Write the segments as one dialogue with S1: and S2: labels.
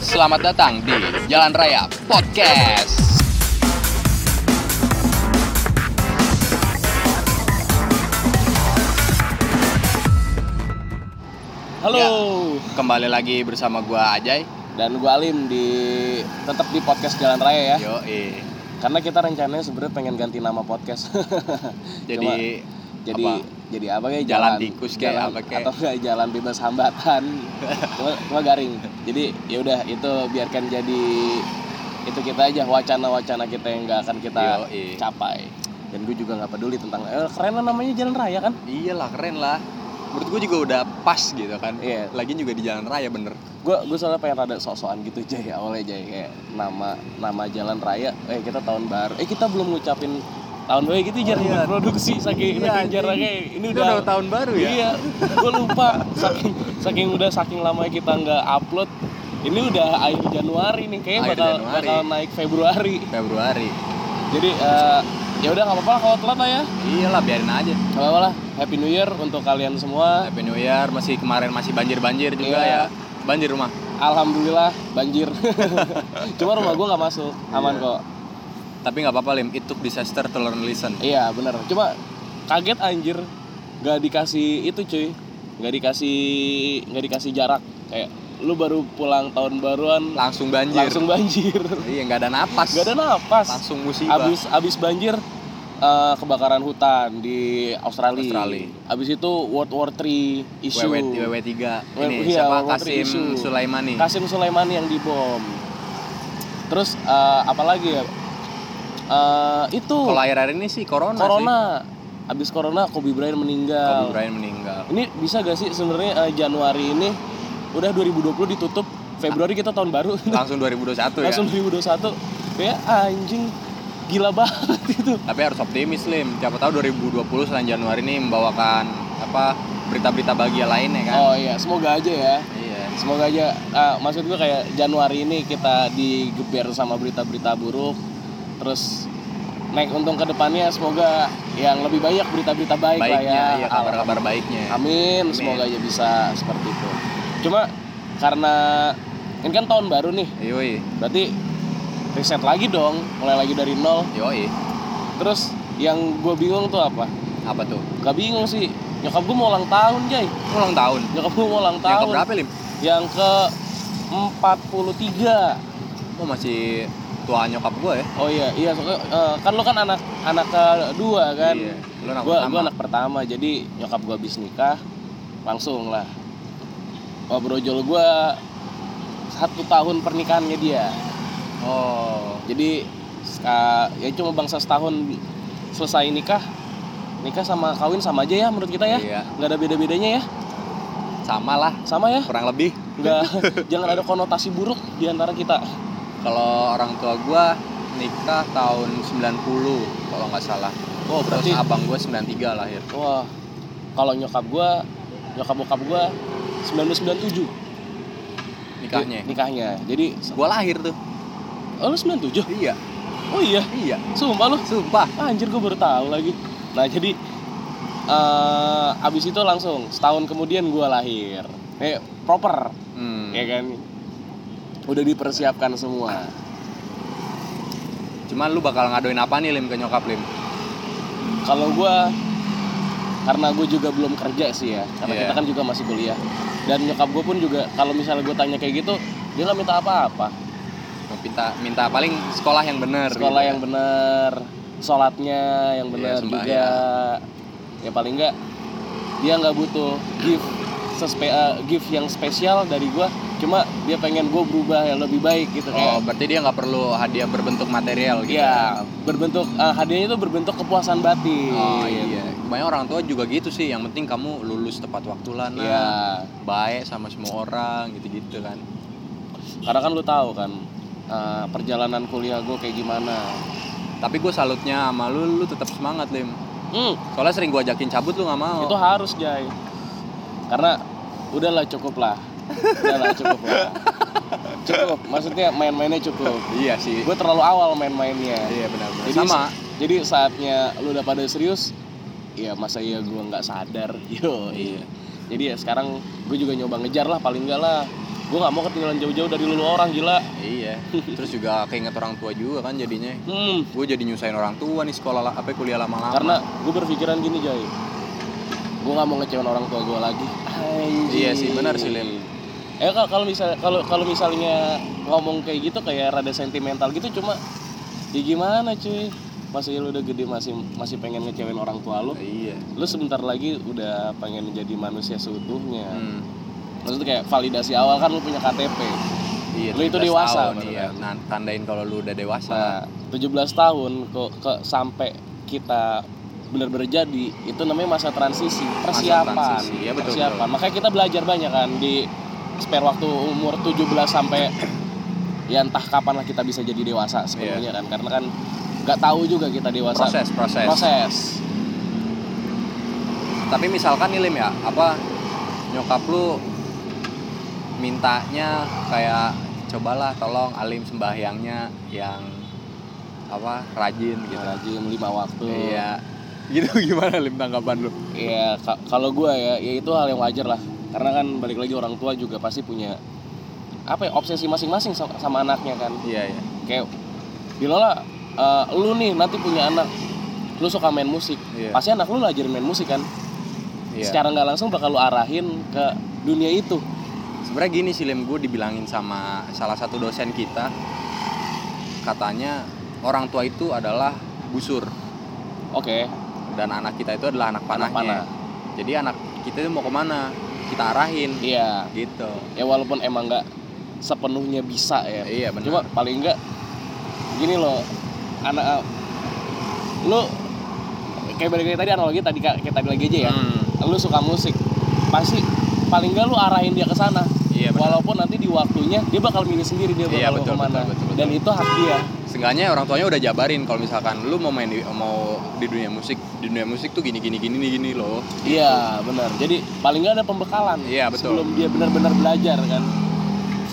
S1: Selamat datang di Jalan Raya Podcast.
S2: Halo.
S1: Ya. Kembali lagi bersama gua Ajay.
S2: Dan gue Alim di tetap di podcast Jalan Raya ya.
S1: Yo, eh.
S2: Karena kita rencananya sebenarnya pengen ganti nama podcast. Cuma,
S1: Jadi
S2: jadi
S1: apa?
S2: jadi apa kayak
S1: Jalan tikus kayak
S2: jalan,
S1: apa kayak?
S2: atau kayak jalan bebas hambatan. cuma, cuma garing. Jadi ya udah itu biarkan jadi itu kita aja wacana-wacana kita yang nggak akan kita
S1: Yoi.
S2: capai. Dan gue juga nggak peduli tentang eh, keren lah namanya Jalan Raya kan?
S1: iyalah keren lah. Menurut gua juga udah pas gitu kan.
S2: Iya.
S1: Lagian juga di jalan raya bener.
S2: gue gue soalnya pengen rada sok-sokan gitu Jay awalnya Jay kayak nama nama jalan raya eh kita tahun baru eh kita belum ngucapin tahun baru gitu Jar
S1: iya.
S2: produksi saking
S1: Iya,
S2: saking jarang
S1: anjing.
S2: kayak ini
S1: Itu
S2: udah,
S1: udah tahun baru ya?
S2: iya gue lupa saking saking udah saking lama kita nggak upload ini udah akhir Januari nih kayaknya
S1: Akhir
S2: bakal
S1: Januari.
S2: bakal naik Februari
S1: Februari.
S2: jadi eh, ya udah nggak apa-apa lah kalau telat lah ya
S1: Iyalah biarin aja.
S2: nggak apa-apa lah Happy New Year untuk kalian semua
S1: Happy New Year masih kemarin masih banjir-banjir juga
S2: Iya.
S1: ya. Banjir rumah.
S2: Alhamdulillah banjir cuma rumah gue nggak masuk aman
S1: Iya.
S2: kok
S1: Tapi nggak apa-apa Lim, it took disaster to learn lesson.
S2: Iya bener, cuma kaget anjir Gak dikasih itu cuy Gak dikasih gak dikasih jarak Kayak lu baru pulang tahun baruan
S1: Langsung banjir.
S2: Langsung banjir
S1: Iya, nggak ada napas.
S2: Gak ada napas
S1: Langsung musibah.
S2: Abis, abis banjir eh, kebakaran hutan di Australia.
S1: Australia.
S2: Abis itu World War 3 issue.
S1: WW, WW3 ini
S2: Iya,
S1: siapa
S2: WW3
S1: Kasim
S2: isu.
S1: Sulaimani.
S2: Kasim Sulaiman yang dibom. Terus eh, apa lagi ya? Eh, itu
S1: Kalau akhir-akhir ini sih corona,
S2: corona. Abis corona Kobe Bryant
S1: sih.
S2: meninggal.
S1: Kobe Bryant meninggal.
S2: Ini bisa gak sih sebenarnya eh, Januari ini udah 2020 ditutup, Februari kita tahun baru,
S1: Langsung 2021 ya.
S2: langsung 2021. Ya anjing gila banget itu.
S1: Tapi harus optimis Lim. Siapa tahu 2020 selain Januari ini membawakan apa berita-berita bahagia lainnya kan.
S2: Oh iya, semoga aja ya.
S1: Iya.
S2: Semoga aja ah, maksud gue kayak Januari ini kita digeber sama berita-berita buruk. Terus naik untung ke depannya semoga yang lebih banyak berita-berita baik lah
S1: Baiknya,
S2: ya.
S1: iya kabar-kabar baiknya.
S2: Amin, semoga aja bisa seperti itu. Cuma karena ini kan tahun baru nih,
S1: Yoi,
S2: berarti riset lagi dong mulai lagi dari nol
S1: yoi.
S2: terus yang gue bingung tuh apa
S1: Apa tuh?
S2: gak bingung sih nyokap gue mau ulang tahun jay
S1: Ulang tahun.
S2: nyokap gue mau ulang
S1: Yang
S2: tahun
S1: berapa Lim?
S2: yang ke 43
S1: Oh masih tua nyokap gue ya.
S2: oh iya iya soalnya, eh, kan lo kan anak anak kedua kan
S1: Iya, lu anak
S2: gue
S1: pertama.
S2: anak pertama jadi nyokap gue habis nikah langsung lah oh, brojol gue satu tahun pernikahannya dia
S1: Oh.
S2: jadi eh, ya cuma bangsa setahun selesai nikah nikah sama kawin sama aja ya menurut kita ya
S1: Iya.
S2: nggak ada beda bedanya ya
S1: Sama lah,
S2: sama ya
S1: kurang lebih.
S2: nggak jangan ada konotasi buruk di antara kita
S1: Kalau orang tua gue nikah tahun 90 kalau nggak salah. Oh, berarti
S2: Berarti-
S1: abang gue 93 lahir.
S2: wah kalau nyokap gua nyokap bokap gua 1997
S1: Nikahnya.
S2: nikahnya jadi
S1: Gue lahir tuh.
S2: oh, lu 97
S1: Iya,
S2: oh iya
S1: iya.
S2: sumpah lu
S1: Sumpah.
S2: anjir gua baru tahu lagi nah jadi eh abis itu langsung setahun kemudian gua lahir eh proper
S1: Hmm.
S2: ya kan udah dipersiapkan semua
S1: Cuman lu bakal ngadoin apa nih Lim ke nyokap Lim?
S2: kalau gua karena gue juga belum kerja sih ya karena
S1: Iya.
S2: kita kan juga masih kuliah dan nyokap gue pun juga kalau misalnya gue tanya kayak gitu dia nggak minta apa-apa
S1: Mau Minta, minta paling sekolah yang bener.
S2: sekolah
S1: gitu
S2: yang
S1: ya.
S2: bener sholatnya yang
S1: Iya,
S2: bener juga
S1: sembahyang.
S2: ya paling nggak dia nggak butuh gift sespe eh, gift yang spesial dari gua cuma dia pengen gue berubah yang lebih baik gitu
S1: Oh,
S2: kayak
S1: berarti dia nggak perlu hadiah berbentuk material gitu.
S2: ya berbentuk eh, hadiahnya itu berbentuk kepuasan batin
S1: Oh iya, banyak orang tua juga gitu sih. Yang penting kamu lulus tepat waktu lah, Nak.
S2: Iya.
S1: baik sama semua orang, gitu-gitu kan.
S2: karena kan lu tahu kan eh, perjalanan kuliah gue kayak gimana
S1: Tapi gue salutnya sama lu, lu tetap semangat lim.
S2: hmm,
S1: Soalnya sering gue ajakin cabut lu nggak mau.
S2: itu harus jai karena udahlah cukup lah udahlah cukup lah cukup maksudnya main-mainnya cukup
S1: Iya sih.
S2: gue terlalu awal main-mainnya
S1: Iya benar-benar.
S2: Jadi
S1: Sama.
S2: jadi saatnya lu udah pada serius ya masa iya gue nggak sadar yo iya jadi ya sekarang gue juga nyoba ngejar lah paling enggak lah gue nggak mau ketinggalan jauh-jauh dari lulu orang gila
S1: Iya. Terus juga keinget orang tua juga kan jadinya.
S2: hmm
S1: Gue jadi nyusahin orang tua nih sekolah la- apa kuliah lama-lama.
S2: karena gue berpikiran gini Jai gue nggak mau ngecewain orang tua gue lagi Anjing.
S1: Iya sih, benar sih, Lim.
S2: eh Kak, kalau misal kalau kalau misalnya ngomong kayak gitu kayak rada sentimental gitu cuma ya gimana cuy masih lu udah gede masih masih pengen ngecewain orang tua lu
S1: Iya.
S2: lu sebentar lagi udah pengen jadi manusia seutuhnya
S1: Hmm.
S2: maksudnya kayak validasi awal kan lu punya KTP
S1: Iya,
S2: Lu itu
S1: 17
S2: dewasa, kan?
S1: tahun,
S2: baru
S1: iya. Nah, tandain kalau lu udah dewasa.
S2: nah 17 tahun ke, ke sampai kita benar-benar jadi itu namanya masa transisi persiapan
S1: transisi, iya, betul,
S2: persiapan makanya kita belajar banyak kan di spare waktu umur 17 sampai ya entah kapan lah kita bisa jadi dewasa sebenarnya kan karena kan nggak tahu juga kita Nah, dewasa
S1: Iya. proses, proses.
S2: proses
S1: Tapi misalkan nih Lim ya, apa nyokap lu mintanya kayak cobalah tolong alim sembahyangnya yang apa rajin gitu.
S2: rajin lima waktu
S1: Iya. Gitu gimana Lim tanggapan lu?
S2: Ya ka- kalau gue ya, ya itu hal yang wajar lah. Karena kan balik lagi orang tua juga pasti punya apa ya obsesi masing-masing sa- sama, anaknya kan.
S1: Iya, iya.
S2: Kayak bila lah eh, lu nih nanti punya anak, lu suka main musik,
S1: Iya.
S2: pasti anak lu lah ajarin main musik kan.
S1: Iya.
S2: Secara nggak langsung bakal lu arahin ke dunia itu.
S1: Sebenarnya gini sih Lim, gue dibilangin sama salah satu dosen kita katanya orang tua itu adalah busur
S2: Oke,
S1: dan anak kita itu adalah anak panahnya.
S2: anak panah.
S1: Jadi anak kita itu mau kemana? Kita arahin
S2: Iya.
S1: gitu.
S2: Ya walaupun emang nggak sepenuhnya bisa ya.
S1: Iya benar.
S2: Cuma paling enggak gini loh, anak eh, lu kayak balik lagi tadi analogi tadi Kak, kayak tadi lagi aja ya.
S1: Hmm,
S2: Lu suka musik, pasti paling enggak lu arahin dia ke sana.
S1: iya benar.
S2: Walaupun nanti di waktunya dia bakal milih sendiri dia bakal
S1: Iya,
S2: mau
S1: betul, betul,
S2: kemana.
S1: Iya. betul, betul.
S2: Dan itu hak dia.
S1: Seenggaknya orang tuanya udah jabarin kalau misalkan lu mau main di, mau di dunia musik, di dunia musik tuh gini gini gini nih gini loh.
S2: Iya, benar. Jadi paling enggak ada pembekalan
S1: Iya, betul.
S2: sebelum dia benar-benar belajar kan.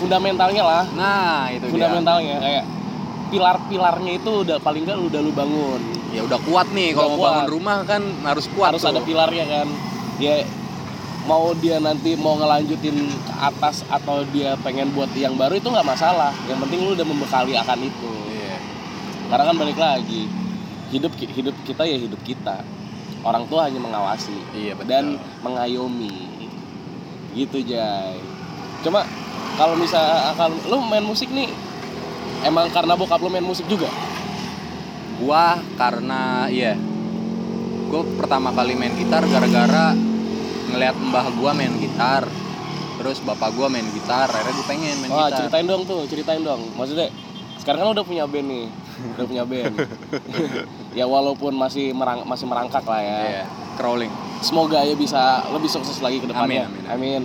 S2: Fundamentalnya lah,
S1: Nah, itu dia.
S2: fundamentalnya kayak pilar-pilarnya itu udah paling enggak udah lu bangun.
S1: Ya udah kuat nih
S2: Udah
S1: kalau mau bangun
S2: kuat.
S1: rumah kan harus kuat
S2: harus
S1: tuh.
S2: ada pilarnya kan ya mau dia nanti mau ngelanjutin ke atas atau dia pengen buat yang baru itu nggak masalah yang penting lu udah membekali akan itu
S1: Iya.
S2: karena kan balik lagi hidup ki- hidup kita ya hidup kita orang tua hanya mengawasi
S1: Iya, betul.
S2: dan mengayomi gitu Jai cuma kalau misal kalau lu main musik nih emang karena bokap lu main musik juga
S1: gua karena iya gua pertama kali main gitar gara-gara ngelihat mbah gua main gitar terus bapak gua main gitar akhirnya gua pengen main
S2: Wah,
S1: gitar
S2: ceritain dong tuh, ceritain dong. Maksudnya sekarang kan lo udah punya band nih, udah punya band. ya walaupun masih merang masih merangkak lah ya.
S1: Iya, crawling
S2: Semoga ya bisa lebih sukses lagi ke depannya.
S1: Amin, amin,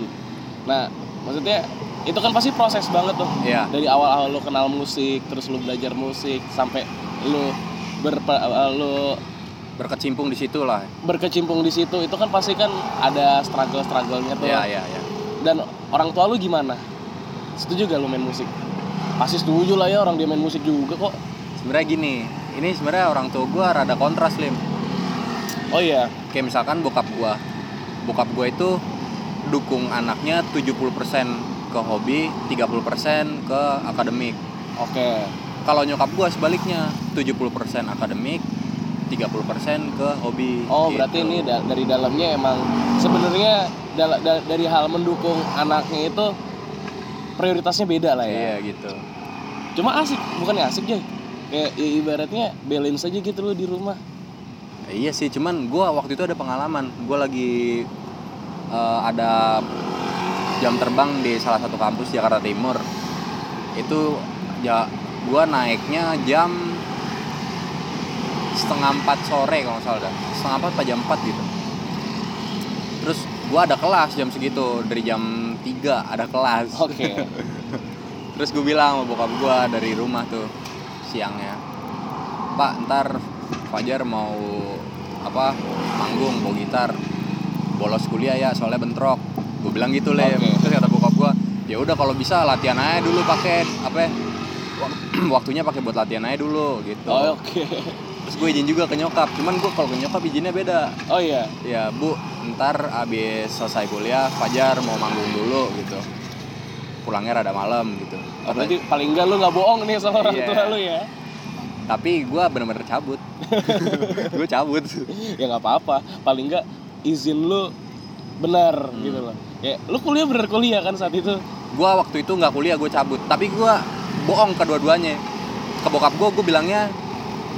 S2: Nah, maksudnya itu kan pasti proses banget tuh.
S1: Iya.
S2: Dari awal-awal lo kenal musik, terus lo belajar musik sampai lo berpa, lo
S1: berkecimpung di situ lah
S2: berkecimpung di situ itu kan pasti kan ada struggle-strugglenya tuh.
S1: iya iya iya
S2: Dan orang tua lu gimana? Setuju gak lu main musik? Pasti setuju lah ya orang dia main musik juga kok.
S1: sebenarnya gini ini sebenarnya orang tua gua rada kontras lim
S2: Oh iya.
S1: kayak misalkan bokap gua bokap gua itu dukung anaknya 70% ke hobi 30% ke akademik
S2: Oke.
S1: kalau nyokap gua sebaliknya 70% akademik 30% ke hobi
S2: Oh
S1: gitu.
S2: berarti ini da- dari dalamnya emang sebenarnya dal- da- dari hal mendukung anaknya itu prioritasnya beda lah ya.
S1: iya gitu
S2: Cuma asik, bukannya asik Jay. Kayak ya, ibaratnya balance aja gitu loh di rumah.
S1: iya sih cuman gua waktu itu ada pengalaman gua lagi eh, ada jam terbang di salah satu kampus Jakarta Timur itu ya gua naiknya jam setengah empat sore kalau nggak salah dah. setengah empat apa jam empat gitu terus gua ada kelas jam segitu dari jam 3 ada kelas
S2: Oke.
S1: Terus gue bilang sama bokap gue dari rumah tuh siangnya, Pak ntar Fajar mau apa manggung bawa gitar, bolos kuliah ya soalnya bentrok. Gue bilang gitu lem.
S2: Oke.
S1: Terus kata bokap gue, ya udah kalau bisa latihan aja dulu pakai apa ya, wak- waktunya pakai buat latihan aja dulu gitu.
S2: Oh, Oke.
S1: Terus gue izin juga ke nyokap, cuman gue kalau ke nyokap izinnya beda.
S2: Oh iya.
S1: Ya bu, ntar abis selesai kuliah Fajar mau manggung dulu gitu. pulangnya rada malam gitu
S2: Oh, berarti paling enggak lu nggak bohong nih sama orang
S1: Iya.
S2: tua lu ya.
S1: tapi gue bener-bener cabut gue cabut
S2: Ya nggak apa-apa. Paling enggak izin lu benar gitu loh. Ya, lu kuliah bener kuliah kan saat itu.
S1: gue waktu itu nggak kuliah gue cabut tapi gue bohong kedua-duanya ke bokap gue gue bilangnya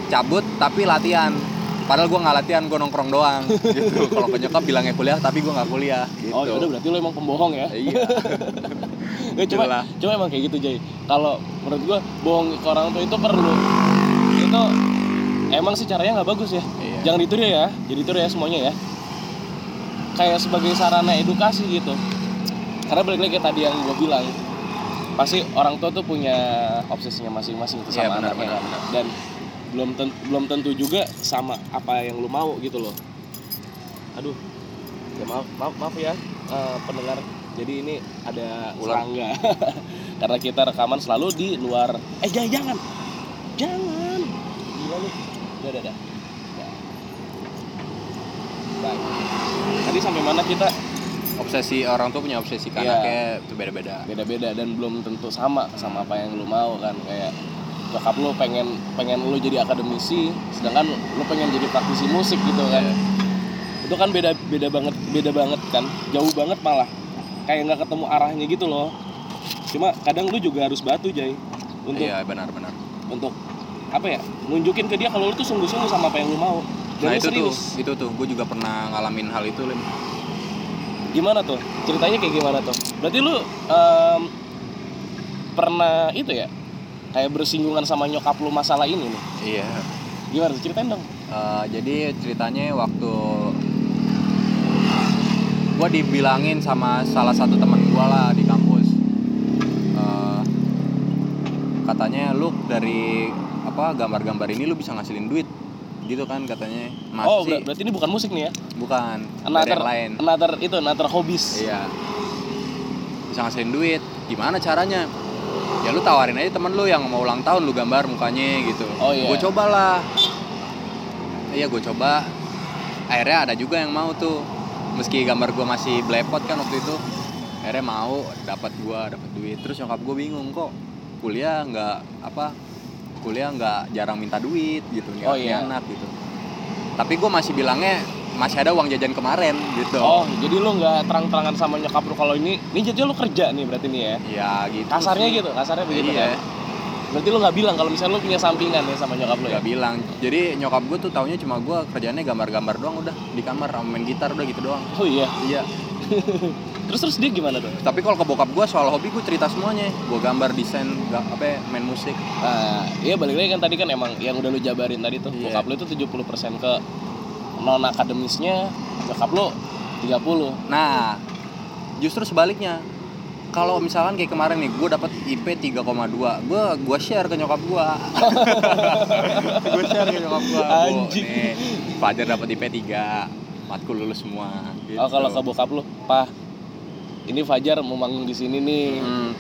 S1: cabut tapi latihan padahal gue nggak latihan gue nongkrong doang gitu kalau ke nyokap bilangnya kuliah tapi gue nggak kuliah gitu
S2: Oh, ya udah berarti lu emang pembohong ya.
S1: iya
S2: Ya, cuma,
S1: Gila.
S2: cuma emang kayak gitu Jay kalau menurut gua bohong ke orang tua itu perlu itu emang sih caranya nggak bagus ya
S1: Iya.
S2: jangan ditiru ya jadi ditiru ya semuanya ya kayak sebagai sarana edukasi gitu karena balik lagi kayak tadi yang gua bilang pasti orang tua tuh punya obsesinya masing-masing itu
S1: Iya,
S2: sama
S1: benar,
S2: anaknya
S1: benar,
S2: kan.
S1: benar.
S2: dan belum ten- belum tentu juga sama apa yang lu mau gitu loh aduh ya maaf maaf maaf ya eh, pendengar jadi ini ada
S1: Ular.
S2: serangga karena kita rekaman selalu di luar eh jangan jangan jangan gila lu udah udah udah Ya. Baik. tadi sampai mana kita
S1: obsesi orang tuh punya obsesi ke
S2: Iya.
S1: anaknya itu beda-beda
S2: beda-beda dan belum tentu sama sama apa yang lu mau kan kayak nyokap lu pengen pengen lu jadi akademisi sedangkan lu pengen jadi praktisi musik gitu kan
S1: Iya.
S2: itu kan beda beda banget beda banget kan jauh banget malah kayak nggak ketemu arahnya gitu loh cuma kadang lu juga harus batu jay untuk
S1: iya benar-benar
S2: untuk apa ya nunjukin ke dia kalau lu tuh sungguh-sungguh sama apa yang lu mau dan
S1: nah
S2: lu
S1: itu
S2: serius
S1: tuh itu tuh gue juga pernah ngalamin hal itu lim
S2: gimana tuh ceritanya kayak gimana tuh berarti lu em, pernah itu ya kayak bersinggungan sama nyokap lu masalah ini nih
S1: iya
S2: gimana tuh ceritain dong
S1: Eh, jadi ceritanya waktu gue dibilangin sama salah satu teman gue lah di kampus Eh, katanya lu dari apa gambar-gambar ini lu bisa ngasilin duit gitu kan katanya masih
S2: oh ber- berarti ini bukan musik nih ya
S1: bukan dari
S2: another
S1: yang lain
S2: another itu another hobbies
S1: iya bisa ngasilin duit gimana caranya ya lu tawarin aja temen lu yang mau ulang tahun lu gambar mukanya gitu
S2: Oh, iya.
S1: gue cobalah iya gue coba akhirnya ada juga yang mau tuh meski gambar gue masih blepot kan waktu itu akhirnya mau dapat gua dapat duit terus nyokap gue bingung kok kuliah nggak apa kuliah nggak jarang minta duit gitu nih
S2: Oh, iya.
S1: anak gitu tapi gue masih bilangnya masih ada uang jajan kemarin gitu
S2: oh jadi lu nggak terang-terangan sama nyokap lu kalau ini ini jadi lu kerja nih berarti nih ya
S1: Ya gitu.
S2: kasarnya
S1: sih.
S2: gitu kasarnya begitu
S1: Iya.
S2: kan berarti lu nggak bilang kalau misalnya lu punya sampingan ya sama nyokap lu ya
S1: Gak bilang. Jadi nyokap gue tuh taunya cuma gue kerjanya gambar-gambar doang udah di kamar sama main gitar udah gitu doang.
S2: oh iya
S1: Iya.
S2: terus terus dia gimana tuh
S1: Tapi kalau ke bokap gue soal hobi gue cerita semuanya. Gue gambar, desain, ga- apa ya, main musik.
S2: Nah, iya balik lagi kan tadi kan emang yang udah lu jabarin tadi tuh
S1: Iya.
S2: bokap lu itu 70% ke non akademisnya, nyokap lu 30.
S1: Nah, justru sebaliknya. Kalau misalkan kayak kemarin nih, gue dapet IP 3,2 Gue gua share ke nyokap gue Gue share ke nyokap gue
S2: Anjing.
S1: Nih, Fajar dapet IP 3 Matkul lulus semua gitu.
S2: Oh, kalau ke bokap lu, "Pah, ini Fajar mau manggung di sini nih.
S1: Hmm,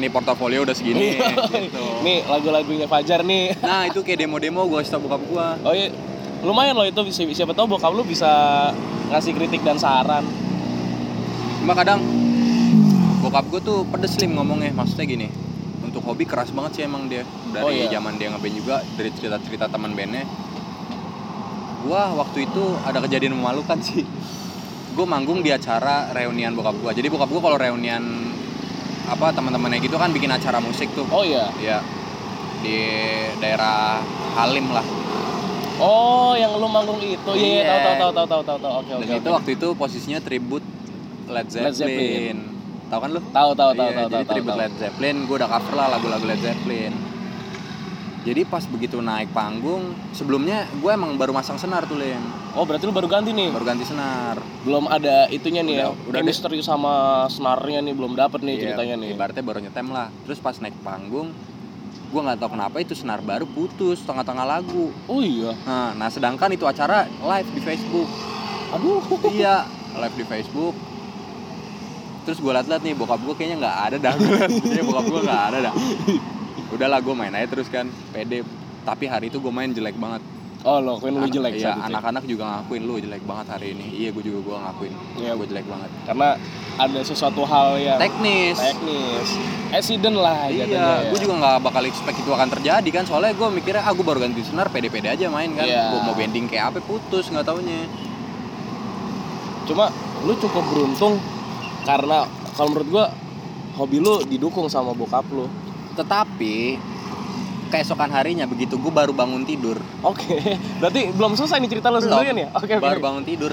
S1: nih portofolio udah segini
S2: Iya.
S1: gitu.
S2: Nih lagu-lagunya Fajar nih."
S1: Nah, itu kayak demo-demo gue kasih tau bokap gue
S2: Oh iya, lumayan loh itu bisa siapa tahu bokap lu bisa ngasih kritik dan saran.
S1: Cuma kadang bokap gue tuh pedes lim ngomongnya, maksudnya gini. Untuk hobi keras banget sih emang dia dari
S2: Oh, iya.
S1: zaman dia ngeband juga, dari cerita-cerita teman bandnya. Gua waktu itu ada kejadian memalukan sih. Gue manggung di acara reunian bokap gue. Jadi bokap gue kalau reunian apa teman-temannya gitu kan bikin acara musik tuh.
S2: Oh iya.
S1: Ya di daerah Halim lah.
S2: Oh, yang lu manggung itu. Iya,
S1: Iya. gitu.
S2: tahu tahu tahu tahu tahu tahu. Oke,
S1: Dan
S2: oke.
S1: itu
S2: oke.
S1: waktu itu posisinya tribute Led Zeppelin.
S2: Led Zeppelin.
S1: Tahu kan lu?
S2: Tahu tahu tahu
S1: Iya,
S2: tahu
S1: Jadi
S2: tahu.
S1: tribute
S2: tahu.
S1: Led Zeppelin, gue udah cover lah lagu-lagu Led Zeppelin. Jadi pas begitu naik panggung, sebelumnya gue emang baru masang senar tuh Lim,
S2: Oh, berarti lu baru ganti nih.
S1: baru ganti senar.
S2: belum ada itunya nih
S1: Udah-
S2: ya
S1: udah deh.
S2: chemistry sama senarnya nih belum dapet nih
S1: Iya,
S2: ceritanya nih
S1: Ibaratnya baru nyetem lah. Terus pas naik panggung, gue nggak tahu kenapa itu senar baru putus tengah-tengah lagu.
S2: oh iya
S1: Nah, nah sedangkan itu acara live di Facebook.
S2: aduh
S1: iya live di Facebook terus gue liat-liat nih bokap gue kayaknya nggak ada dah kayaknya bokap gue nggak ada dah udahlah gue main aja terus kan pede tapi hari itu gue main jelek banget
S2: oh lo akuin lu
S1: An-
S2: jelek
S1: iya,
S2: saat itu.
S1: anak-anak juga ngakuin lu jelek banget hari ini iya gue juga gue ngakuin
S2: Iya.
S1: gue jelek banget
S2: karena ada sesuatu hal yang
S1: teknis
S2: teknis accident lah jatuhnya ya.
S1: Iya, gue juga nggak bakal expect itu akan terjadi kan Soalnya gue mikirnya, ah gue baru ganti senar, pede-pede aja main kan
S2: Iya.
S1: Gue mau bending kayak apa, putus, nggak taunya
S2: cuma lu cukup beruntung karena kalau menurut gua hobi lu didukung sama bokap lu
S1: Tetapi, keesokan harinya begitu gue baru bangun tidur
S2: oke berarti belum selesai nih cerita lu
S1: Belum.
S2: sendirian ya oke oke
S1: Baru bangun tidur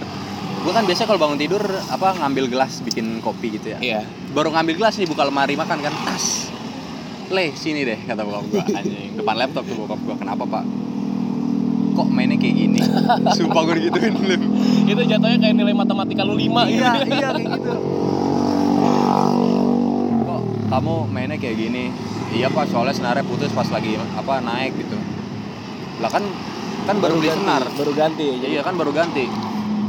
S1: Gue kan biasanya kalau bangun tidur, apa ngambil gelas bikin kopi gitu ya
S2: iya
S1: Baru ngambil gelas nih, buka lemari makan kan, tas Leh, sini deh, kata bokap gue Anjing, depan laptop tuh bokap gue, kenapa pak? Kok mainnya kayak gini? Sumpah gue digituin Lim.
S2: itu jatuhnya kayak nilai matematika lu 5
S1: iya
S2: gitu
S1: iya kayak gitu kok kamu mainnya kayak gini iya pak soalnya senarnya putus pas lagi apa naik gitu lah kan kan baru beli
S2: ganti,
S1: senar
S2: baru ganti jadi
S1: iya kan baru ganti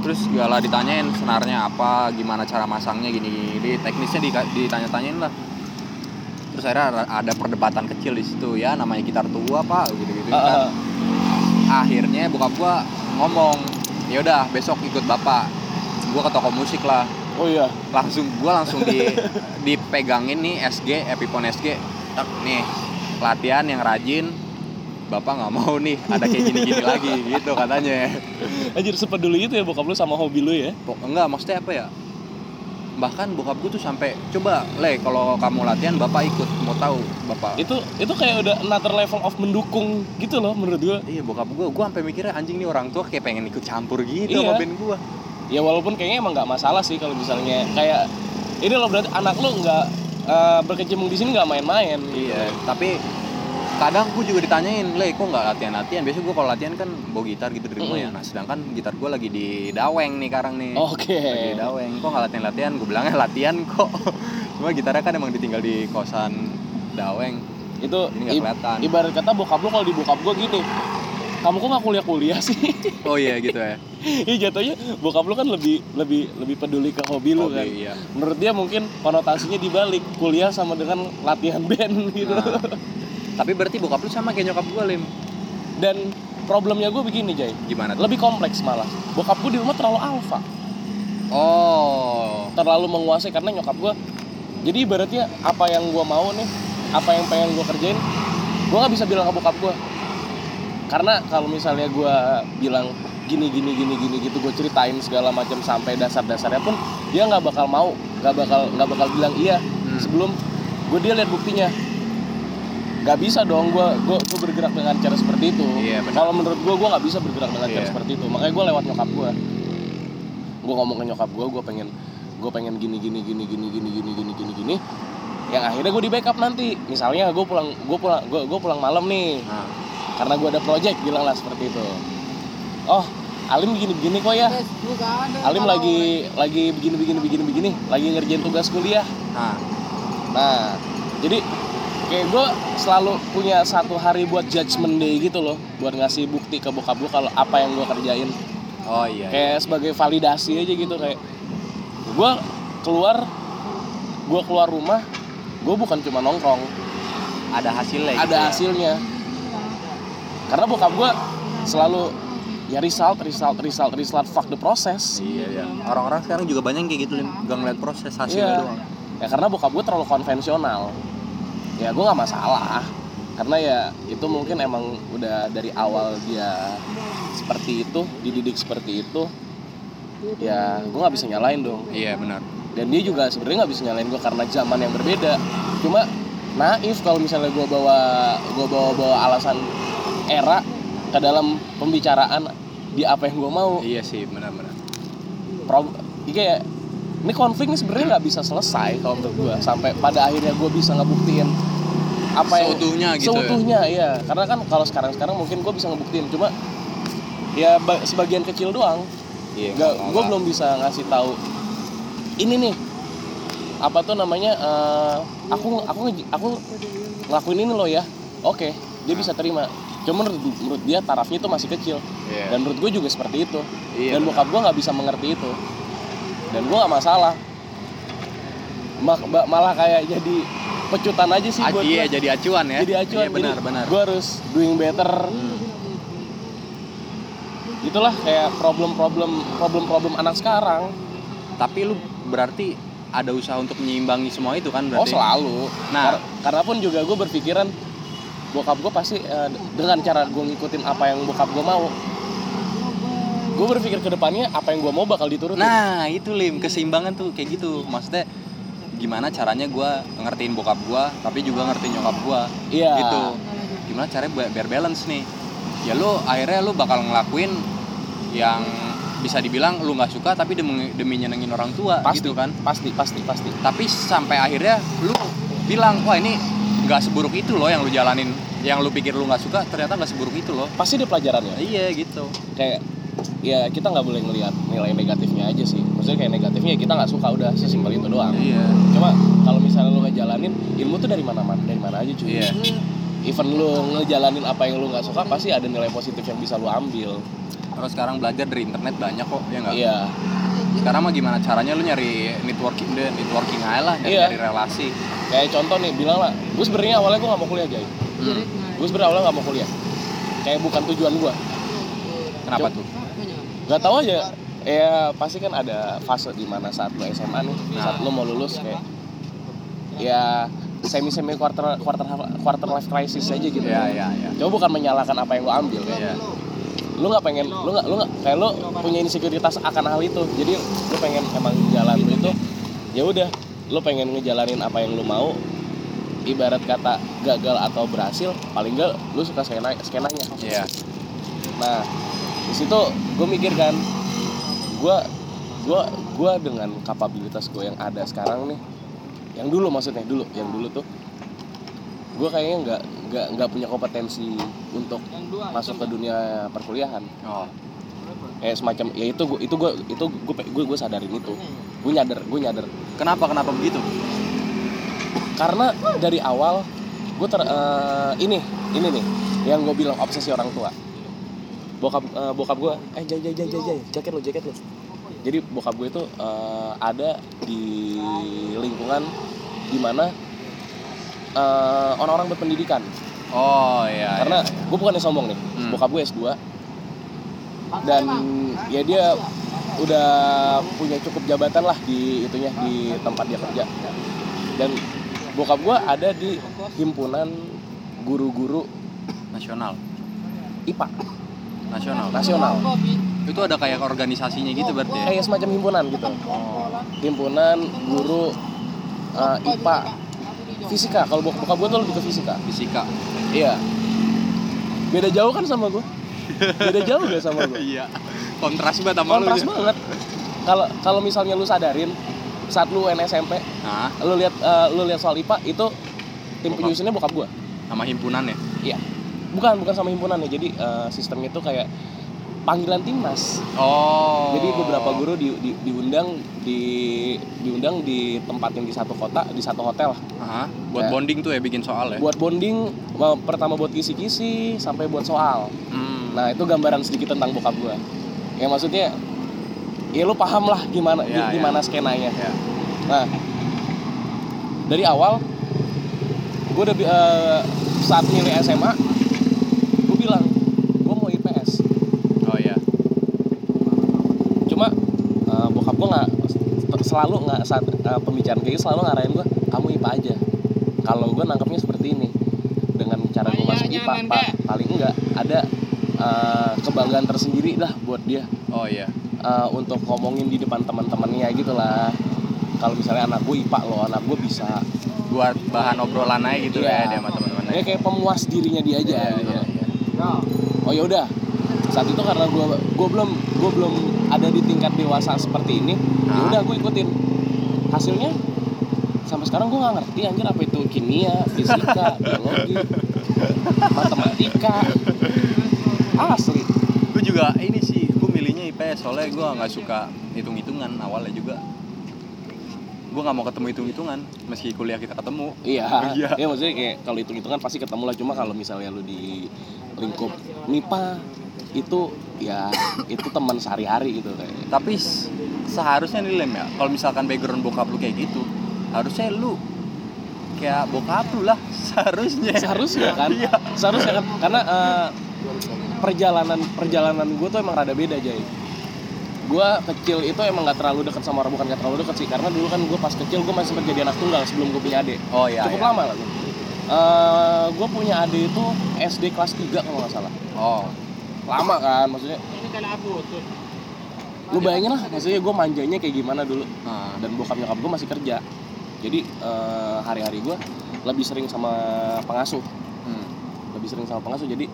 S1: terus gak lah ditanyain senarnya apa gimana cara masangnya gini gini teknisnya di- ditanya-tanyain lah terus akhirnya ada- ada perdebatan kecil di situ ya namanya gitar tua pak gitu gitu
S2: Ah, ah.
S1: akhirnya bokap gua ngomong ya udah besok ikut bapak gua ke toko musik lah
S2: oh iya
S1: langsung gua langsung di dipegangin nih SG Epiphone SG tak nih latihan yang rajin bapak nggak mau nih ada kayak gini-gini lagi gitu katanya
S2: anjir sepeduli itu ya bokap lu sama hobi lu ya
S1: Pok- enggak maksudnya apa ya bahkan bokap gue tuh sampai coba le kalau kamu latihan bapak ikut mau tahu bapak
S2: itu itu kayak udah another level of mendukung gitu loh menurut gua
S1: iya bokap gue gue sampai mikirnya anjing nih orang tua kayak pengen ikut campur gitu
S2: Iya.
S1: sama band gue
S2: ya walaupun kayaknya emang nggak masalah sih kalau misalnya kayak ini loh berarti anak lo nggak eh, berkecimpung di sini nggak main-main gitu.
S1: Iya, tapi kadang gue juga ditanyain, le kok nggak latihan-latihan? Biasanya gue kalau latihan kan bawa gitar gitu di rumah ya. Nah, sedangkan gitar gue lagi di Daweng nih sekarang nih.
S2: oke
S1: Lagi di Daweng, kok nggak latihan-latihan? Gue bilangnya latihan kok. Cuma gitarnya kan emang ditinggal di kosan Daweng.
S2: itu
S1: Jadi nggak
S2: i-
S1: kelihatan.
S2: ibarat kata bokap lo kalau di bokap gue gini kamu kok nggak kuliah-kuliah sih
S1: Oh iya gitu ya.
S2: Iya jatuhnya bokap lo kan lebih lebih lebih peduli ke hobi lo
S1: Hobi,
S2: kan
S1: iya.
S2: menurut dia mungkin konotasinya dibalik kuliah sama dengan latihan band gitu
S1: Nah, tapi berarti bokap lu sama kayak nyokap gue, Lim.
S2: dan problemnya gue begini Jay
S1: Gimana tuh?
S2: lebih kompleks malah bokap gue di rumah terlalu alfa
S1: Oh.
S2: terlalu menguasai karena nyokap gue jadi ibaratnya apa yang gue mau nih apa yang pengen gue kerjain gue nggak bisa bilang ke bokap gue karena kalau misalnya gue bilang gini gini gini gini gitu gue ceritain segala macam sampai dasar-dasarnya pun dia nggak bakal mau nggak bakal nggak bakal bilang iya
S1: Hmm.
S2: sebelum gue dia lihat buktinya nggak bisa dong gue gue bergerak dengan cara seperti itu
S1: Iya, benar.
S2: kalau menurut gue gue nggak bisa bergerak dengan cara
S1: Iya.
S2: seperti itu makanya gue lewat nyokap gue gue ngomong ke nyokap gue gue pengen gue pengen gini gini gini gini gini gini gini gini gini yang akhirnya gue di backup nanti misalnya gue pulang gue pulang gue gue pulang malam nih
S1: Nah,
S2: karena gue ada project bilanglah seperti itu oh Alim begini begini kok ya Alim lagi lagi begini begini begini begini lagi ngerjain tugas kuliah
S1: nah.
S2: Nah, jadi kayak gue selalu punya satu hari buat judgement day gitu loh, buat ngasih bukti ke bokap gue kalau apa yang gue kerjain,
S1: Oh iya. iya.
S2: kayak sebagai validasi aja gitu kayak gue keluar, gue keluar rumah, gue bukan cuma nongkrong,
S1: Ada hasilnya. gitu ya.
S2: ada hasilnya. Karena bokap gue selalu ya result, result, result, result, fuck the process.
S1: Iya, iya. Orang-orang sekarang juga banyak yang kayak gitu, Lim. Gak ngeliat proses hasilnya
S2: Iya.
S1: doang.
S2: ya karena bokap gue terlalu konvensional ya gue nggak masalah karena ya itu mungkin emang udah dari awal dia seperti itu dididik seperti itu ya gue nggak bisa nyalain dong
S1: Iya, benar.
S2: dan dia juga sebenarnya nggak bisa nyalain gue karena zaman yang berbeda cuma naif kalau misalnya gue bawa gue bawa bawa alasan era ke dalam pembicaraan di apa yang gue mau
S1: Iya sih, benar-benar.
S2: Prob- kayak ini konflik ini sebenarnya nggak bisa selesai kalau menurut gue sampai pada akhirnya gue bisa ngebuktiin apa yang
S1: Seutuhnya gitu ya?
S2: seutuhnya iya karena kan kalau sekarang sekarang mungkin gue bisa ngebuktiin cuma ya ba- sebagian kecil doang
S1: Iya.
S2: gue belum bisa ngasih tahu ini nih apa tuh namanya eh, aku aku nge- aku ngelakuin ini loh ya oke dia bisa terima cuma menurut, menurut dia tarafnya itu masih kecil
S1: Iya.
S2: dan menurut gue juga seperti itu
S1: Iya,
S2: dan
S1: benar.
S2: bokap gue nggak bisa mengerti itu dan gue nggak masalah Ma- ba- malah kayak jadi pecutan aja sih
S1: Ah,
S2: buat
S1: iya,
S2: gua.
S1: jadi acuan ya.
S2: jadi acuan
S1: Iya, benar, benar.
S2: gue harus doing better itulah kayak problem-problem problem-problem anak sekarang Oh,
S1: Tapi lu berarti ada usaha untuk menyeimbangi semua itu kan
S2: oh
S1: berarti?
S2: selalu
S1: Nah.
S2: Kar- karena pun juga gue berpikiran bokap gue pasti eh, dengan cara gue ngikutin apa yang bokap gue mau gue berpikir ke depannya apa yang gue mau bakal diturutin
S1: Nah itu Lim, keseimbangan tuh kayak gitu Maksudnya gimana caranya gua ngertiin bokap gua tapi juga ngertiin nyokap gua
S2: iya
S1: gitu Gimana caranya bi- biar balance nih Ya lu akhirnya lu bakal ngelakuin yang bisa dibilang lu nggak suka tapi demi, demi nyenengin orang tua
S2: Pasti.
S1: gitu kan
S2: pasti pasti pasti
S1: Tapi sampai akhirnya lu bilang, wah ini nggak seburuk itu loh yang lu jalanin Yang lu pikir lu nggak suka ternyata nggak seburuk itu loh
S2: pasti ada pelajarannya
S1: Nah, Iya gitu
S2: kayak ya kita nggak boleh ngelihat nilai negatifnya aja sih maksudnya kayak negatifnya ya kita nggak suka udah sesimpel itu doang
S1: Iya
S2: cuma kalau misalnya lu ngejalanin ilmu tuh dari mana mana dari mana aja cuy
S1: Iya
S2: even lu ngejalanin apa yang lu nggak suka pasti ada nilai positif yang bisa lu ambil
S1: Terus sekarang belajar dari internet banyak kok ya nggak?
S2: iya
S1: sekarang mah gimana caranya lu nyari networking deh networking aja lah nyari,
S2: Iya.
S1: nyari relasi
S2: kayak contoh nih bilang lah gue sebenarnya awalnya gue nggak mau kuliah guys
S1: Hmm,
S2: gue sebenarnya awalnya nggak mau kuliah kayak bukan tujuan gue
S1: kenapa
S2: Cuk-
S1: tuh
S2: nggak tahu aja ya pasti kan ada fase di mana saat lo SMA nih
S1: Nah.
S2: saat lo mau lulus kayak ya semi semi quarter quarter quarter life crisis aja gitu
S1: ya ya ya
S2: Coba bukan menyalahkan apa yang lo ambil ya.
S1: Iya.
S2: Lo nggak pengen, lo nggak, lo nggak kayak lo punya insekuritas akan hal itu. Jadi lo pengen emang jalan lo itu, ya udah, lo pengen ngejalanin apa yang lo mau. Ibarat kata gagal atau berhasil, paling nggak lo suka skena, skenanya.
S1: Iya.
S2: Nah, di situ gue mikir kan, gue gue gue dengan kapabilitas gue yang ada sekarang nih, yang dulu maksudnya dulu, yang dulu tuh, gue kayaknya nggak nggak nggak punya kompetensi untuk masuk ke dunia perkuliahan.
S1: oh
S2: Kayak semacam ya itu gue itu gue itu gue gue gue sadarin itu, gue nyadar gue nyadar.
S1: kenapa kenapa begitu
S2: Karena dari awal gue ter eh, ini ini nih yang gue bilang obsesi orang tua. Bokap eh, bokap gue eh jay jay jay jay jay jaket lo jaket lo. Jadi bokap gue itu eh, ada di lingkungan dimana eh, orang-orang berpendidikan.
S1: oh iya
S2: Karena
S1: iya,
S2: gue bukan sombong nih,
S1: Hmm.
S2: bokap gue S2 dan ya dia udah punya cukup jabatan lah di itunya di tempat dia kerja dan bokap gue ada di himpunan guru-guru
S1: nasional
S2: IPA
S1: nasional
S2: nasional
S1: itu ada kayak organisasinya gitu berarti ya?
S2: kayak semacam himpunan gitu himpunan guru eh, IPA fisika kalau bok- bokap gue tuh lebih ke fisika
S1: fisika
S2: iya beda jauh kan sama gue beda jauh gak sama gue
S1: iya kontras banget sama lu ya?
S2: kontras banget kalau kalau misalnya lu sadarin saat lu NSMP
S1: nah
S2: lu lihat eh, lu lihat soal IPA itu tim
S1: Bokap.
S2: penyusunnya bokap gua
S1: sama himpunan ya
S2: iya bukan bukan sama himpunan ya jadi eh, sistemnya itu kayak panggilan timnas
S1: oh
S2: jadi beberapa guru di, di- diundang di diundang di tempat yang di satu kota di satu hotel
S1: Aha, buat
S2: Ya.
S1: bonding tuh ya bikin soal ya
S2: buat bonding eh, pertama buat kisi-kisi sampai buat soal
S1: Hmm.
S2: Nah itu gambaran sedikit tentang bokap gue. Ya maksudnya, ya lu paham lah gimana gi-
S1: Ya, ya.
S2: gimana skenanya.
S1: Ya.
S2: Nah dari awal gue udah bi- eh, saat milih SMA, gue bilang gue mau IPS.
S1: oh iya
S2: Cuma eh, bokap gue nggak ter- selalu nggak saat eh, pembicaraan kayak gitu selalu ngarahin gue, kamu IPA aja. Kalau gue nangkepnya seperti ini dengan cara gue masuk
S3: Ayahnya
S2: IPA, pa- paling enggak ada eh, kebanggaan tersendiri lah buat dia.
S1: oh iya
S2: eh, untuk ngomongin di depan teman-temannya gitu lah kalau misalnya anak gue ipa loh anak gue bisa
S1: buat bahan obrolan aja gitu
S2: Iya.
S1: ya dia sama teman-teman
S2: dia kayak pemuas dirinya dia
S1: Iya,
S2: aja gitu. oh ya udah saat itu karena gue gue belum gue belum ada di tingkat dewasa seperti ini ya udah gue ikutin hasilnya sampai sekarang gue nggak ngerti anjir apa itu kimia fisika biologi matematika asli
S1: gue juga ini sih gue milihnya IPS soalnya gue nggak suka hitung-hitungan awalnya juga gue nggak mau ketemu hitung-hitungan meski kuliah kita ketemu
S2: Iya.
S1: Iya.
S2: Ya maksudnya kayak kalau hitung hitungan pasti ketemu lah cuma kalau misalnya lu di lingkup MIPA itu ya itu teman sehari-hari gitu kayak.
S1: tapi s- seharusnya nih Lem ya kalau misalkan background bokap lu kayak gitu harusnya lu kayak bokap lu lah seharusnya Iya.
S2: Seharusnya kan? Seharusnya kan karena kan? eh, perjalanan perjalanan gue tuh emang rada beda Jay gue kecil itu emang nggak terlalu dekat sama orang bukan nggak terlalu dekat sih karena dulu kan gue pas kecil gue masih sempat jadi anak tunggal sebelum gue punya adik
S1: oh iya
S2: cukup
S1: iya.
S2: lama lah gue punya adik itu SD kelas 3 kalau nggak salah
S1: oh
S2: lama kan maksudnya
S3: Ini kan abu tuh.
S2: lu bayangin lah maksudnya gue manjanya kayak gimana dulu
S1: nah,
S2: dan bokap nyokap gue masih kerja jadi eh, hari-hari gue lebih sering sama pengasuh
S1: hmm.
S2: lebih sering sama pengasuh jadi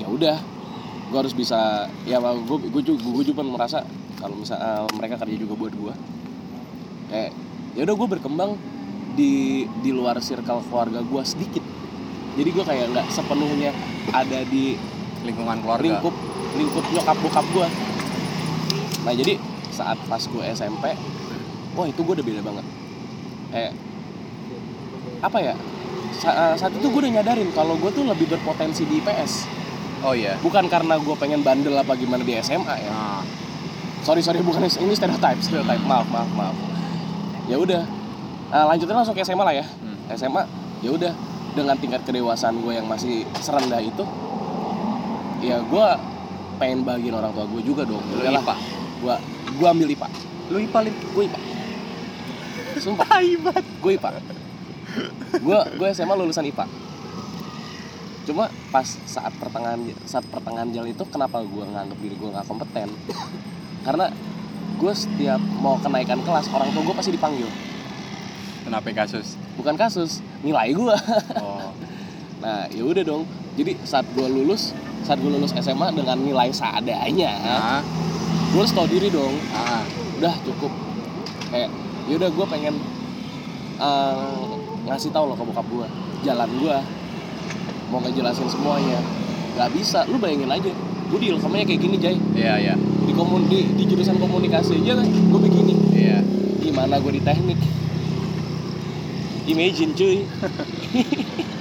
S2: ya udah gue harus bisa ya gue gue juga gue juga merasa kalau misal eh, mereka kerja juga buat gue kayak ya udah gue berkembang di di luar circle keluarga gue sedikit jadi gue kayak nggak sepenuhnya ada di
S1: lingkungan keluarga
S2: lingkup lingkup nyokap bokap gue nah jadi saat pas gue SMP wah itu gue udah beda banget kayak apa ya Sa- saat itu gue udah nyadarin kalau gue tuh lebih berpotensi di IPS
S1: oh iya
S2: bukan karena gue pengen bandel apa gimana di SMA ya
S1: nah,
S2: sorry sorry bukan ini stereotype stereotype maaf maaf maaf ya udah Nah, lanjutin langsung ke SMA lah ya
S1: hmm.
S2: SMA ya udah dengan tingkat kedewasaan gue yang masih serendah itu ya gue pengen bagiin orang tua gue juga dong
S1: lu
S2: Udahlah,
S1: ipa
S2: gue gue ambil ipa
S1: lu ipa lip
S2: gue ipa sumpah gue ipa gue gue SMA lulusan ipa cuma pas saat pertengahan saat pertengahan jalan itu kenapa gue nganggep diri gue nggak kompeten karena gue setiap mau kenaikan kelas orang tua gue pasti dipanggil
S1: kenapa kasus
S2: bukan kasus nilai gue
S1: oh
S2: Nah, ya udah dong. Jadi saat gue lulus, saat gue lulus SMA dengan nilai seadanya,
S1: nah,
S2: gue harus tahu diri dong.
S1: nah.
S2: Udah cukup. Kayak, ya udah gue pengen eh, ngasih tahu loh ke bokap gue, jalan gue mau ngejelasin semuanya. Gak bisa, lu bayangin aja. Gue di ilkamnya kayak gini, Jay.
S1: iya iya
S2: Di, komun, di, di jurusan komunikasi aja kan, gue begini.
S1: iya
S2: Gimana gue di teknik? Imagine cuy.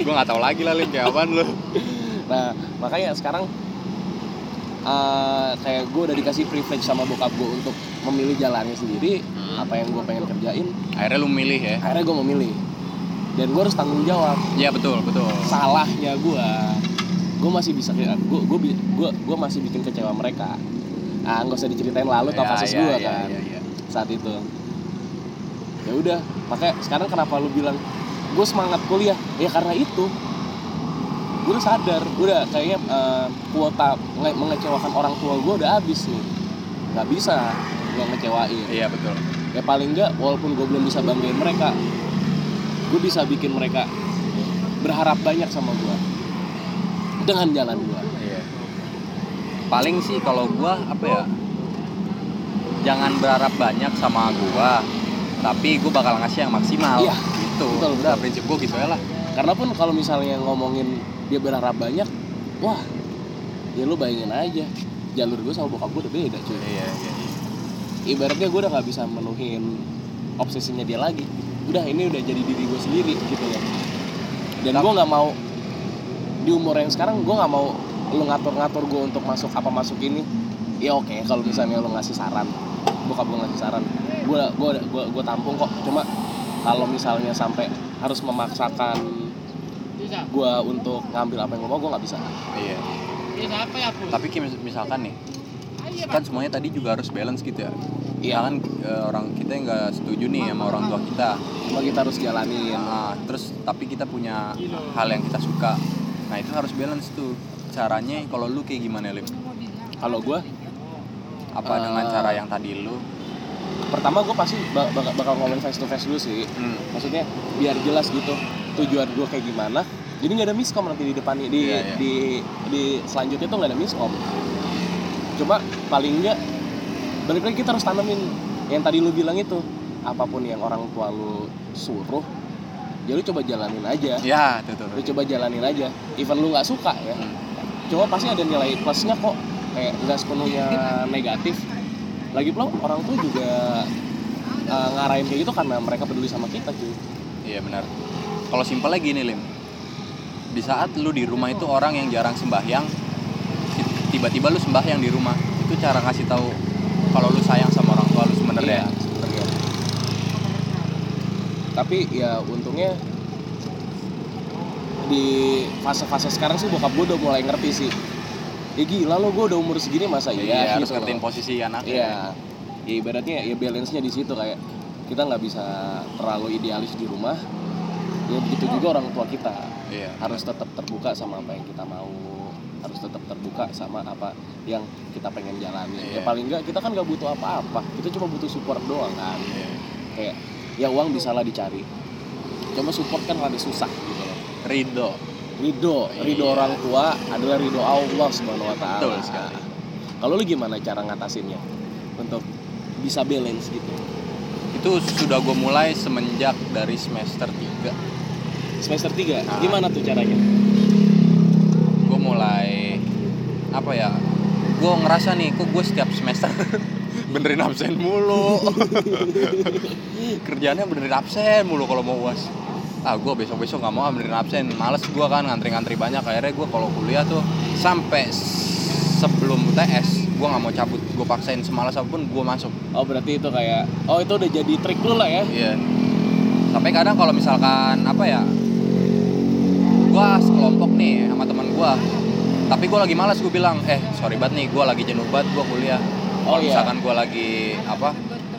S1: gue nggak tahu lagi lah lip kayak apaan lu
S2: Nah, makanya sekarang eh, kayak gue udah dikasih privilege sama bokap gue untuk memilih jalannya sendiri,
S1: Hmm.
S2: apa yang gue pengen kerjain,
S1: akhirnya lu milih ya
S2: akhirnya gue memilih. Dan gue harus tanggung jawab.
S1: iya betul betul
S2: Salahnya gue, gue masih bisa ya, gue gue gue gue masih bikin kecewa mereka. Ah, nggak usah diceritain lalu tau
S1: Iya,
S2: kasus
S1: iya,
S2: gue
S1: iya,
S2: kan
S1: iya, iya.
S2: saat itu. Ya udah, makanya sekarang kenapa lu bilang gue semangat kuliah? Ya karena itu. Gue udah sadar, udah kayaknya eh, kuota nge- mengecewakan orang tua gue udah habis nih. Gak bisa gue ngecewain.
S1: iya betul
S2: Ya paling nggak, walaupun gue belum bisa banggain mereka, gue bisa bikin mereka berharap banyak sama gue dengan jalan gue.
S1: Iya. Paling sih kalau gua apa ya? Jangan berharap banyak sama gua, tapi gua bakal ngasih yang maksimal.
S2: Iya,
S1: Gitu.
S2: betul,
S1: Udah
S2: betul.
S1: prinsip gua gitu ya lah.
S2: karena pun kalau misalnya ngomongin dia berharap banyak wah ya lu bayangin aja jalur gue sama bokap gue udah beda cuy
S1: Iya, iya.
S2: ibaratnya gue udah nggak bisa menuhin obsesinya dia lagi udah ini udah jadi diri gue sendiri gitu ya dan gue nggak mau di umur yang sekarang gue nggak mau lu ngatur-ngatur gue untuk masuk apa masuk ini ya oke kalau misalnya lu ngasih saran bokap gue ngasih saran gue gue gue gue tampung kok cuma kalau misalnya sampai harus memaksakan
S3: Bisa.
S2: gue untuk ngambil apa yang gue mau gue nggak bisa
S1: Iya.
S3: Bisa apa ya abu?
S1: Tapi kayak mis- misalkan nih, kan semuanya tadi juga harus balance gitu ya.
S2: iya kan
S1: Misalkan eh, orang kita yang nggak setuju nih sama orang tua kita.
S2: cuma kita harus jalanin
S1: Nah, terus tapi kita punya hal yang kita suka. Nah, itu harus balance tuh. Caranya kalau lu kayak gimana, Lim?
S2: kalau gue
S1: Apa dengan
S2: Eh.
S1: cara yang tadi lu?
S2: pertama gue pasti ba- bakal, bakal ngomongin face to face dulu sih
S1: Hmm.
S2: maksudnya biar jelas gitu tujuan gue kayak gimana jadi nggak ada miskom nanti di depan di
S1: Iya, iya.
S2: di di selanjutnya tuh nggak ada miskom cuma paling nggak balik lagi kita harus tanamin yang tadi lu bilang itu apapun yang orang tua lu suruh ya lu coba jalanin aja
S1: Ya, itu tuh.
S2: lu coba jalanin aja even lu nggak suka ya
S1: Hmm.
S2: cuma pasti ada nilai plusnya kok kayak nggak sepenuhnya negatif lagi pula orang tua juga eh, ngarahin kayak gitu karena mereka peduli sama kita cuy
S1: Iya benar. Kalau simpelnya gini Lim, di saat lu di rumah itu orang yang jarang sembahyang, ti- tiba-tiba lu sembahyang di rumah, itu cara ngasih tahu kalau lu sayang sama orang tua lu sebenarnya.
S2: Iya, sebenarnya. tapi ya untungnya di fase-fase sekarang sih bokap gue udah mulai ngerti sih ya gila lo gue udah umur segini masa
S1: Iya,
S2: iya
S1: harus
S2: gitu
S1: ngertiin
S2: loh.
S1: posisi anaknya.
S2: Iya. Ya ibaratnya ya balance-nya di situ kayak kita nggak bisa terlalu idealis di rumah. Ya begitu juga orang tua kita
S1: Iya.
S2: harus tetap terbuka sama apa yang kita mau harus tetap terbuka sama apa yang kita pengen jalani
S1: Iya.
S2: ya paling nggak kita kan nggak butuh apa-apa kita cuma butuh support doang kan
S1: Iya.
S2: kayak ya uang bisa lah dicari cuma support kan rada susah gitu loh
S1: Ridho.
S2: ridho ridho
S1: Iya.
S2: orang tua adalah ridho Allah subhanahu wa taala
S1: Betul sekali.
S2: kalau lu gimana cara ngatasinnya untuk bisa balance gitu
S1: Itu sudah gue mulai semenjak dari semester 3
S2: semester 3
S1: Ah.
S2: gimana tuh caranya
S1: gue mulai apa ya gue ngerasa nih kok gue setiap semester benerin absen mulu kerjaannya benerin absen mulu kalau mau uas ah gue besok besok nggak mau ah benerin absen males gue kan ngantri ngantri banyak akhirnya gue kalau kuliah tuh sampai s- sebelum UTS gue nggak mau cabut gue paksain semalas apapun gue masuk
S2: oh berarti itu kayak oh itu udah jadi trik lu lah ya
S1: Iya. Sampai kadang kalau misalkan apa ya, gua sekelompok nih sama teman gua. Tapi gua lagi malas gua bilang, eh sorry banget nih, gua lagi jenuh banget, gua kuliah. Kalau
S2: Oh, iya.
S1: misalkan gua lagi apa,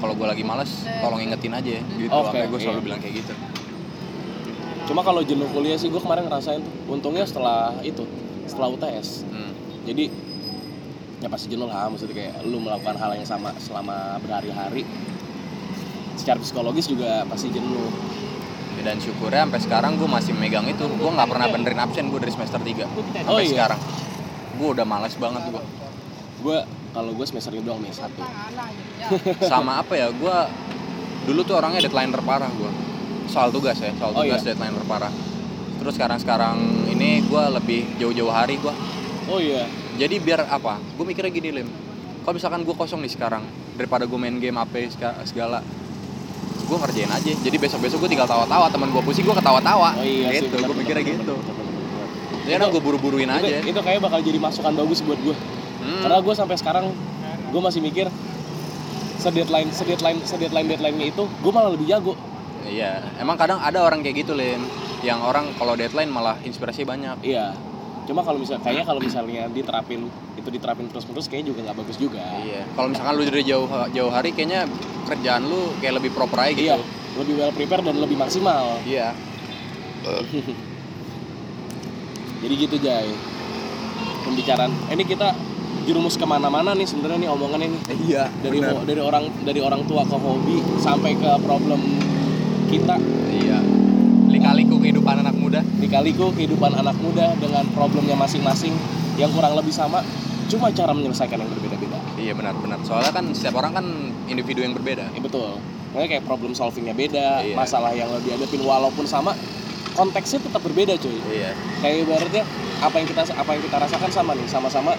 S1: kalau gua lagi malas, tolong ingetin aja gitu.
S2: Oke,
S1: Makanya gua
S2: iya.
S1: selalu bilang kayak gitu.
S2: Cuma kalau jenuh kuliah sih gue kemarin ngerasain tuh. Untungnya setelah itu, setelah UTS.
S1: Hmm.
S2: Jadi ya pasti jenuh lah maksudnya kayak lu melakukan hal yang sama selama berhari-hari secara psikologis juga pasti jenuh
S1: Dan syukurnya sampai sekarang gua masih megang itu. Gua nggak pernah benerin absen gua dari semester 3
S2: Iya.
S3: Kita
S2: Oh,
S1: sampai
S2: iya.
S1: sekarang. Gua udah malas banget gua.
S2: gue kalau gue semester ini doang nih satu
S1: sama apa ya gue dulu tuh orangnya deadline terparah gue soal tugas ya soal
S2: Oh,
S1: tugas
S2: iya.
S1: deadline terparah terus sekarang sekarang ini gue lebih jauh-jauh hari gue
S2: oh iya
S1: jadi biar apa gue mikirnya gini lim kalau misalkan gue kosong nih sekarang daripada gue main game apa seka- segala gue ngerjain aja jadi besok besok gue tinggal tawa-tawa teman gue pusing gue ketawa-tawa
S2: oh iya sih
S1: gitu gue
S2: bener, bener,
S1: mikirnya
S2: bener,
S1: gitu
S2: bener, bener, bener, bener.
S1: jadi kan gue buru-buruin
S2: itu,
S1: aja
S2: itu kayak bakal jadi masukan bagus buat gue
S1: Hmm,
S2: karena gue sampai sekarang gue masih mikir sedeadline sedeadline sedeadline deadline-nya itu gue malah lebih jago
S1: iya emang kadang ada orang kayak gitu lim yang orang kalau deadline malah inspirasi banyak
S2: Iya. Cuma kalau misalnya kayaknya kalau misalnya diterapin itu diterapin terus-menerus kayaknya juga nggak bagus juga.
S1: Iya. Kalau misalkan lu dari jauh jauh hari kayaknya kerjaan lu kayak lebih proper aja gitu.
S2: Iya, lebih well prepared dan lebih maksimal.
S1: Iya.
S2: Jadi gitu Jai. Pembicaraan. Eh, ini kita jerumus kemana-mana nih sebenarnya nih omongan ini
S1: Iya.
S2: dari ho- dari orang dari orang tua ke hobi sampai ke problem kita
S1: Iya. Lika-liku kehidupan anak muda.
S2: dikaliku kehidupan anak muda dengan problemnya masing-masing yang kurang lebih sama cuma cara menyelesaikan yang berbeda-beda.
S1: Iya benar-benar. Soalnya kan setiap orang kan individu yang berbeda.
S2: Ya, betul. Makanya kayak problem solvingnya beda,
S1: Iya.
S2: masalah yang lo dihadapin walaupun sama, konteksnya tetap berbeda cuy.
S1: Iya.
S2: Kayak ibaratnya apa yang kita apa yang kita rasakan sama nih, sama-sama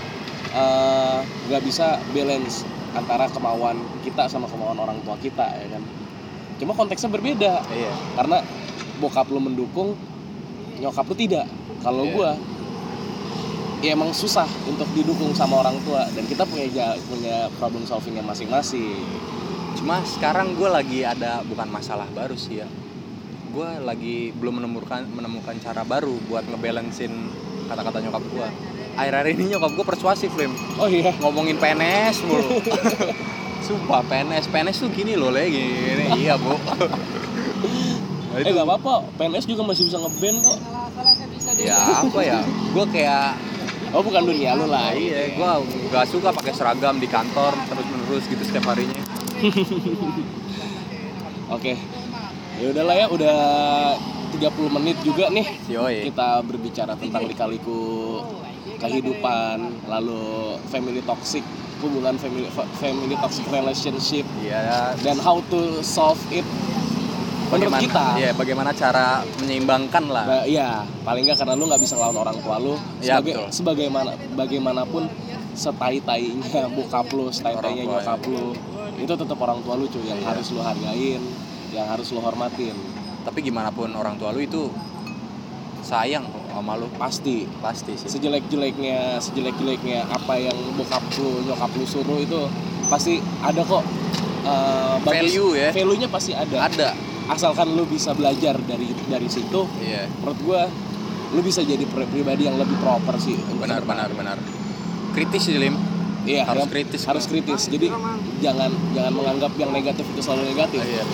S2: eh, nggak bisa balance antara kemauan kita sama kemauan orang tua kita ya kan. Cuma konteksnya berbeda
S1: Iya.
S2: karena bokap lu mendukung, nyokap lu tidak. Kalau
S1: Iya.
S2: gua ya emang susah untuk didukung sama orang tua dan kita punya ja- punya problem solvingnya masing-masing.
S1: Cuma sekarang gue lagi ada bukan masalah baru sih ya. Gue lagi belum menemukan menemukan cara baru buat ngebalancein kata-kata nyokap gue. Akhir-akhir ini nyokap gue persuasif, Lim.
S2: Oh iya.
S1: ngomongin PNS mulu. Sumpah PNS, PNS tuh gini loh le, gini, gini. iya bu. Nah,
S2: Eh
S1: itu-
S2: gak apa-apa, PNS juga masih bisa ngeband kok
S1: ya apa ya, gue kayak
S2: Oh bukan dunia lu lah
S1: iya, gue nggak suka pakai seragam di kantor terus menerus gitu setiap harinya.
S2: Oke Ya udahlah ya, udah 30 menit juga nih
S1: Yoi,
S2: Kita berbicara tentang likaliku kehidupan Lalu family toxic Hubungan family, fa- family toxic relationship
S1: iya.
S2: Dan how to solve it Menurut
S1: Bagaimana,
S2: kita
S1: Iya, bagaimana cara menyeimbangkan lah.
S2: Ba- Iya, paling nggak karena lu nggak bisa ngelawan orang tua lu.
S1: Ya,
S2: Sebagai,
S1: betul.
S2: sebagaimana bagaimanapun setai-tainya bokap lu, setai-tainya
S1: Orang tua, iya.
S2: nyokap lu, itu tetap orang tua lu cuy yang harus lu hargain, yang harus lu hormatin.
S1: Tapi gimana pun orang tua lu itu sayang kok sama lu
S2: Pasti
S1: pasti sih.
S2: sejelek-jeleknya, sejelek-jeleknya apa yang bokap lu, nyokap lu suruh itu pasti ada kok eh, bagus-
S1: Value ya
S2: value-nya pasti ada.
S1: ada.
S2: Asalkan lu bisa belajar dari dari situ,
S1: Iya,
S2: menurut gua lu bisa jadi pri- pribadi yang lebih proper sih.
S1: benar benar benar. kritis sih Lim
S2: Iya,
S1: Harus
S2: ya,
S1: kritis.
S2: Harus kritis. Jadi jangan jangan menganggap yang negatif itu selalu negatif.
S1: iya.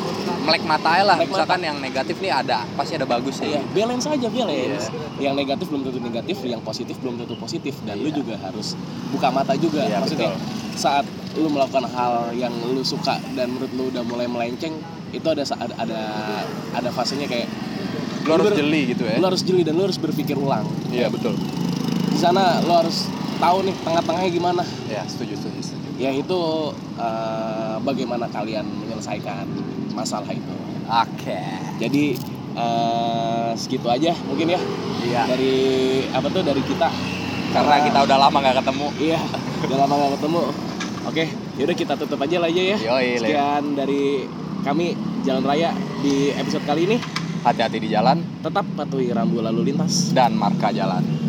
S1: melek mata aja lah
S2: Melek mata.
S1: misalkan yang negatif nih ada pasti ada bagus sih
S2: Iya, balance aja balance. Yang negatif belum tentu negatif, yang positif belum tentu positif dan lu
S1: Iya.
S2: juga harus buka mata juga.
S1: Iya,
S2: Maksudnya
S1: betul.
S2: saat lu melakukan hal yang lu suka dan menurut lu udah mulai melenceng, itu ada saat ada ada fasenya kayak
S1: lo harus
S2: Bener.
S1: jeli gitu ya
S2: lu harus jeli dan lu harus berpikir ulang.
S1: iya betul
S2: Di sana lu harus tahu nih tengah-tengahnya gimana.
S1: ya setuju setuju setuju
S2: Yang itu eh, bagaimana kalian menyelesaikan masalah itu.
S1: oke
S2: Jadi eh, segitu aja mungkin ya
S1: iya
S2: dari apa tuh dari kita
S1: karena kita udah lama nggak ketemu
S2: iya udah lama gak ketemu. Oke, yaudah kita tutup aja lah ya ya.
S1: yoi Lim
S2: Sekian dari kami Jalan Raya di episode kali ini.
S1: hati-hati di jalan
S2: Tetap patuhi rambu lalu lintas.
S1: dan marka jalan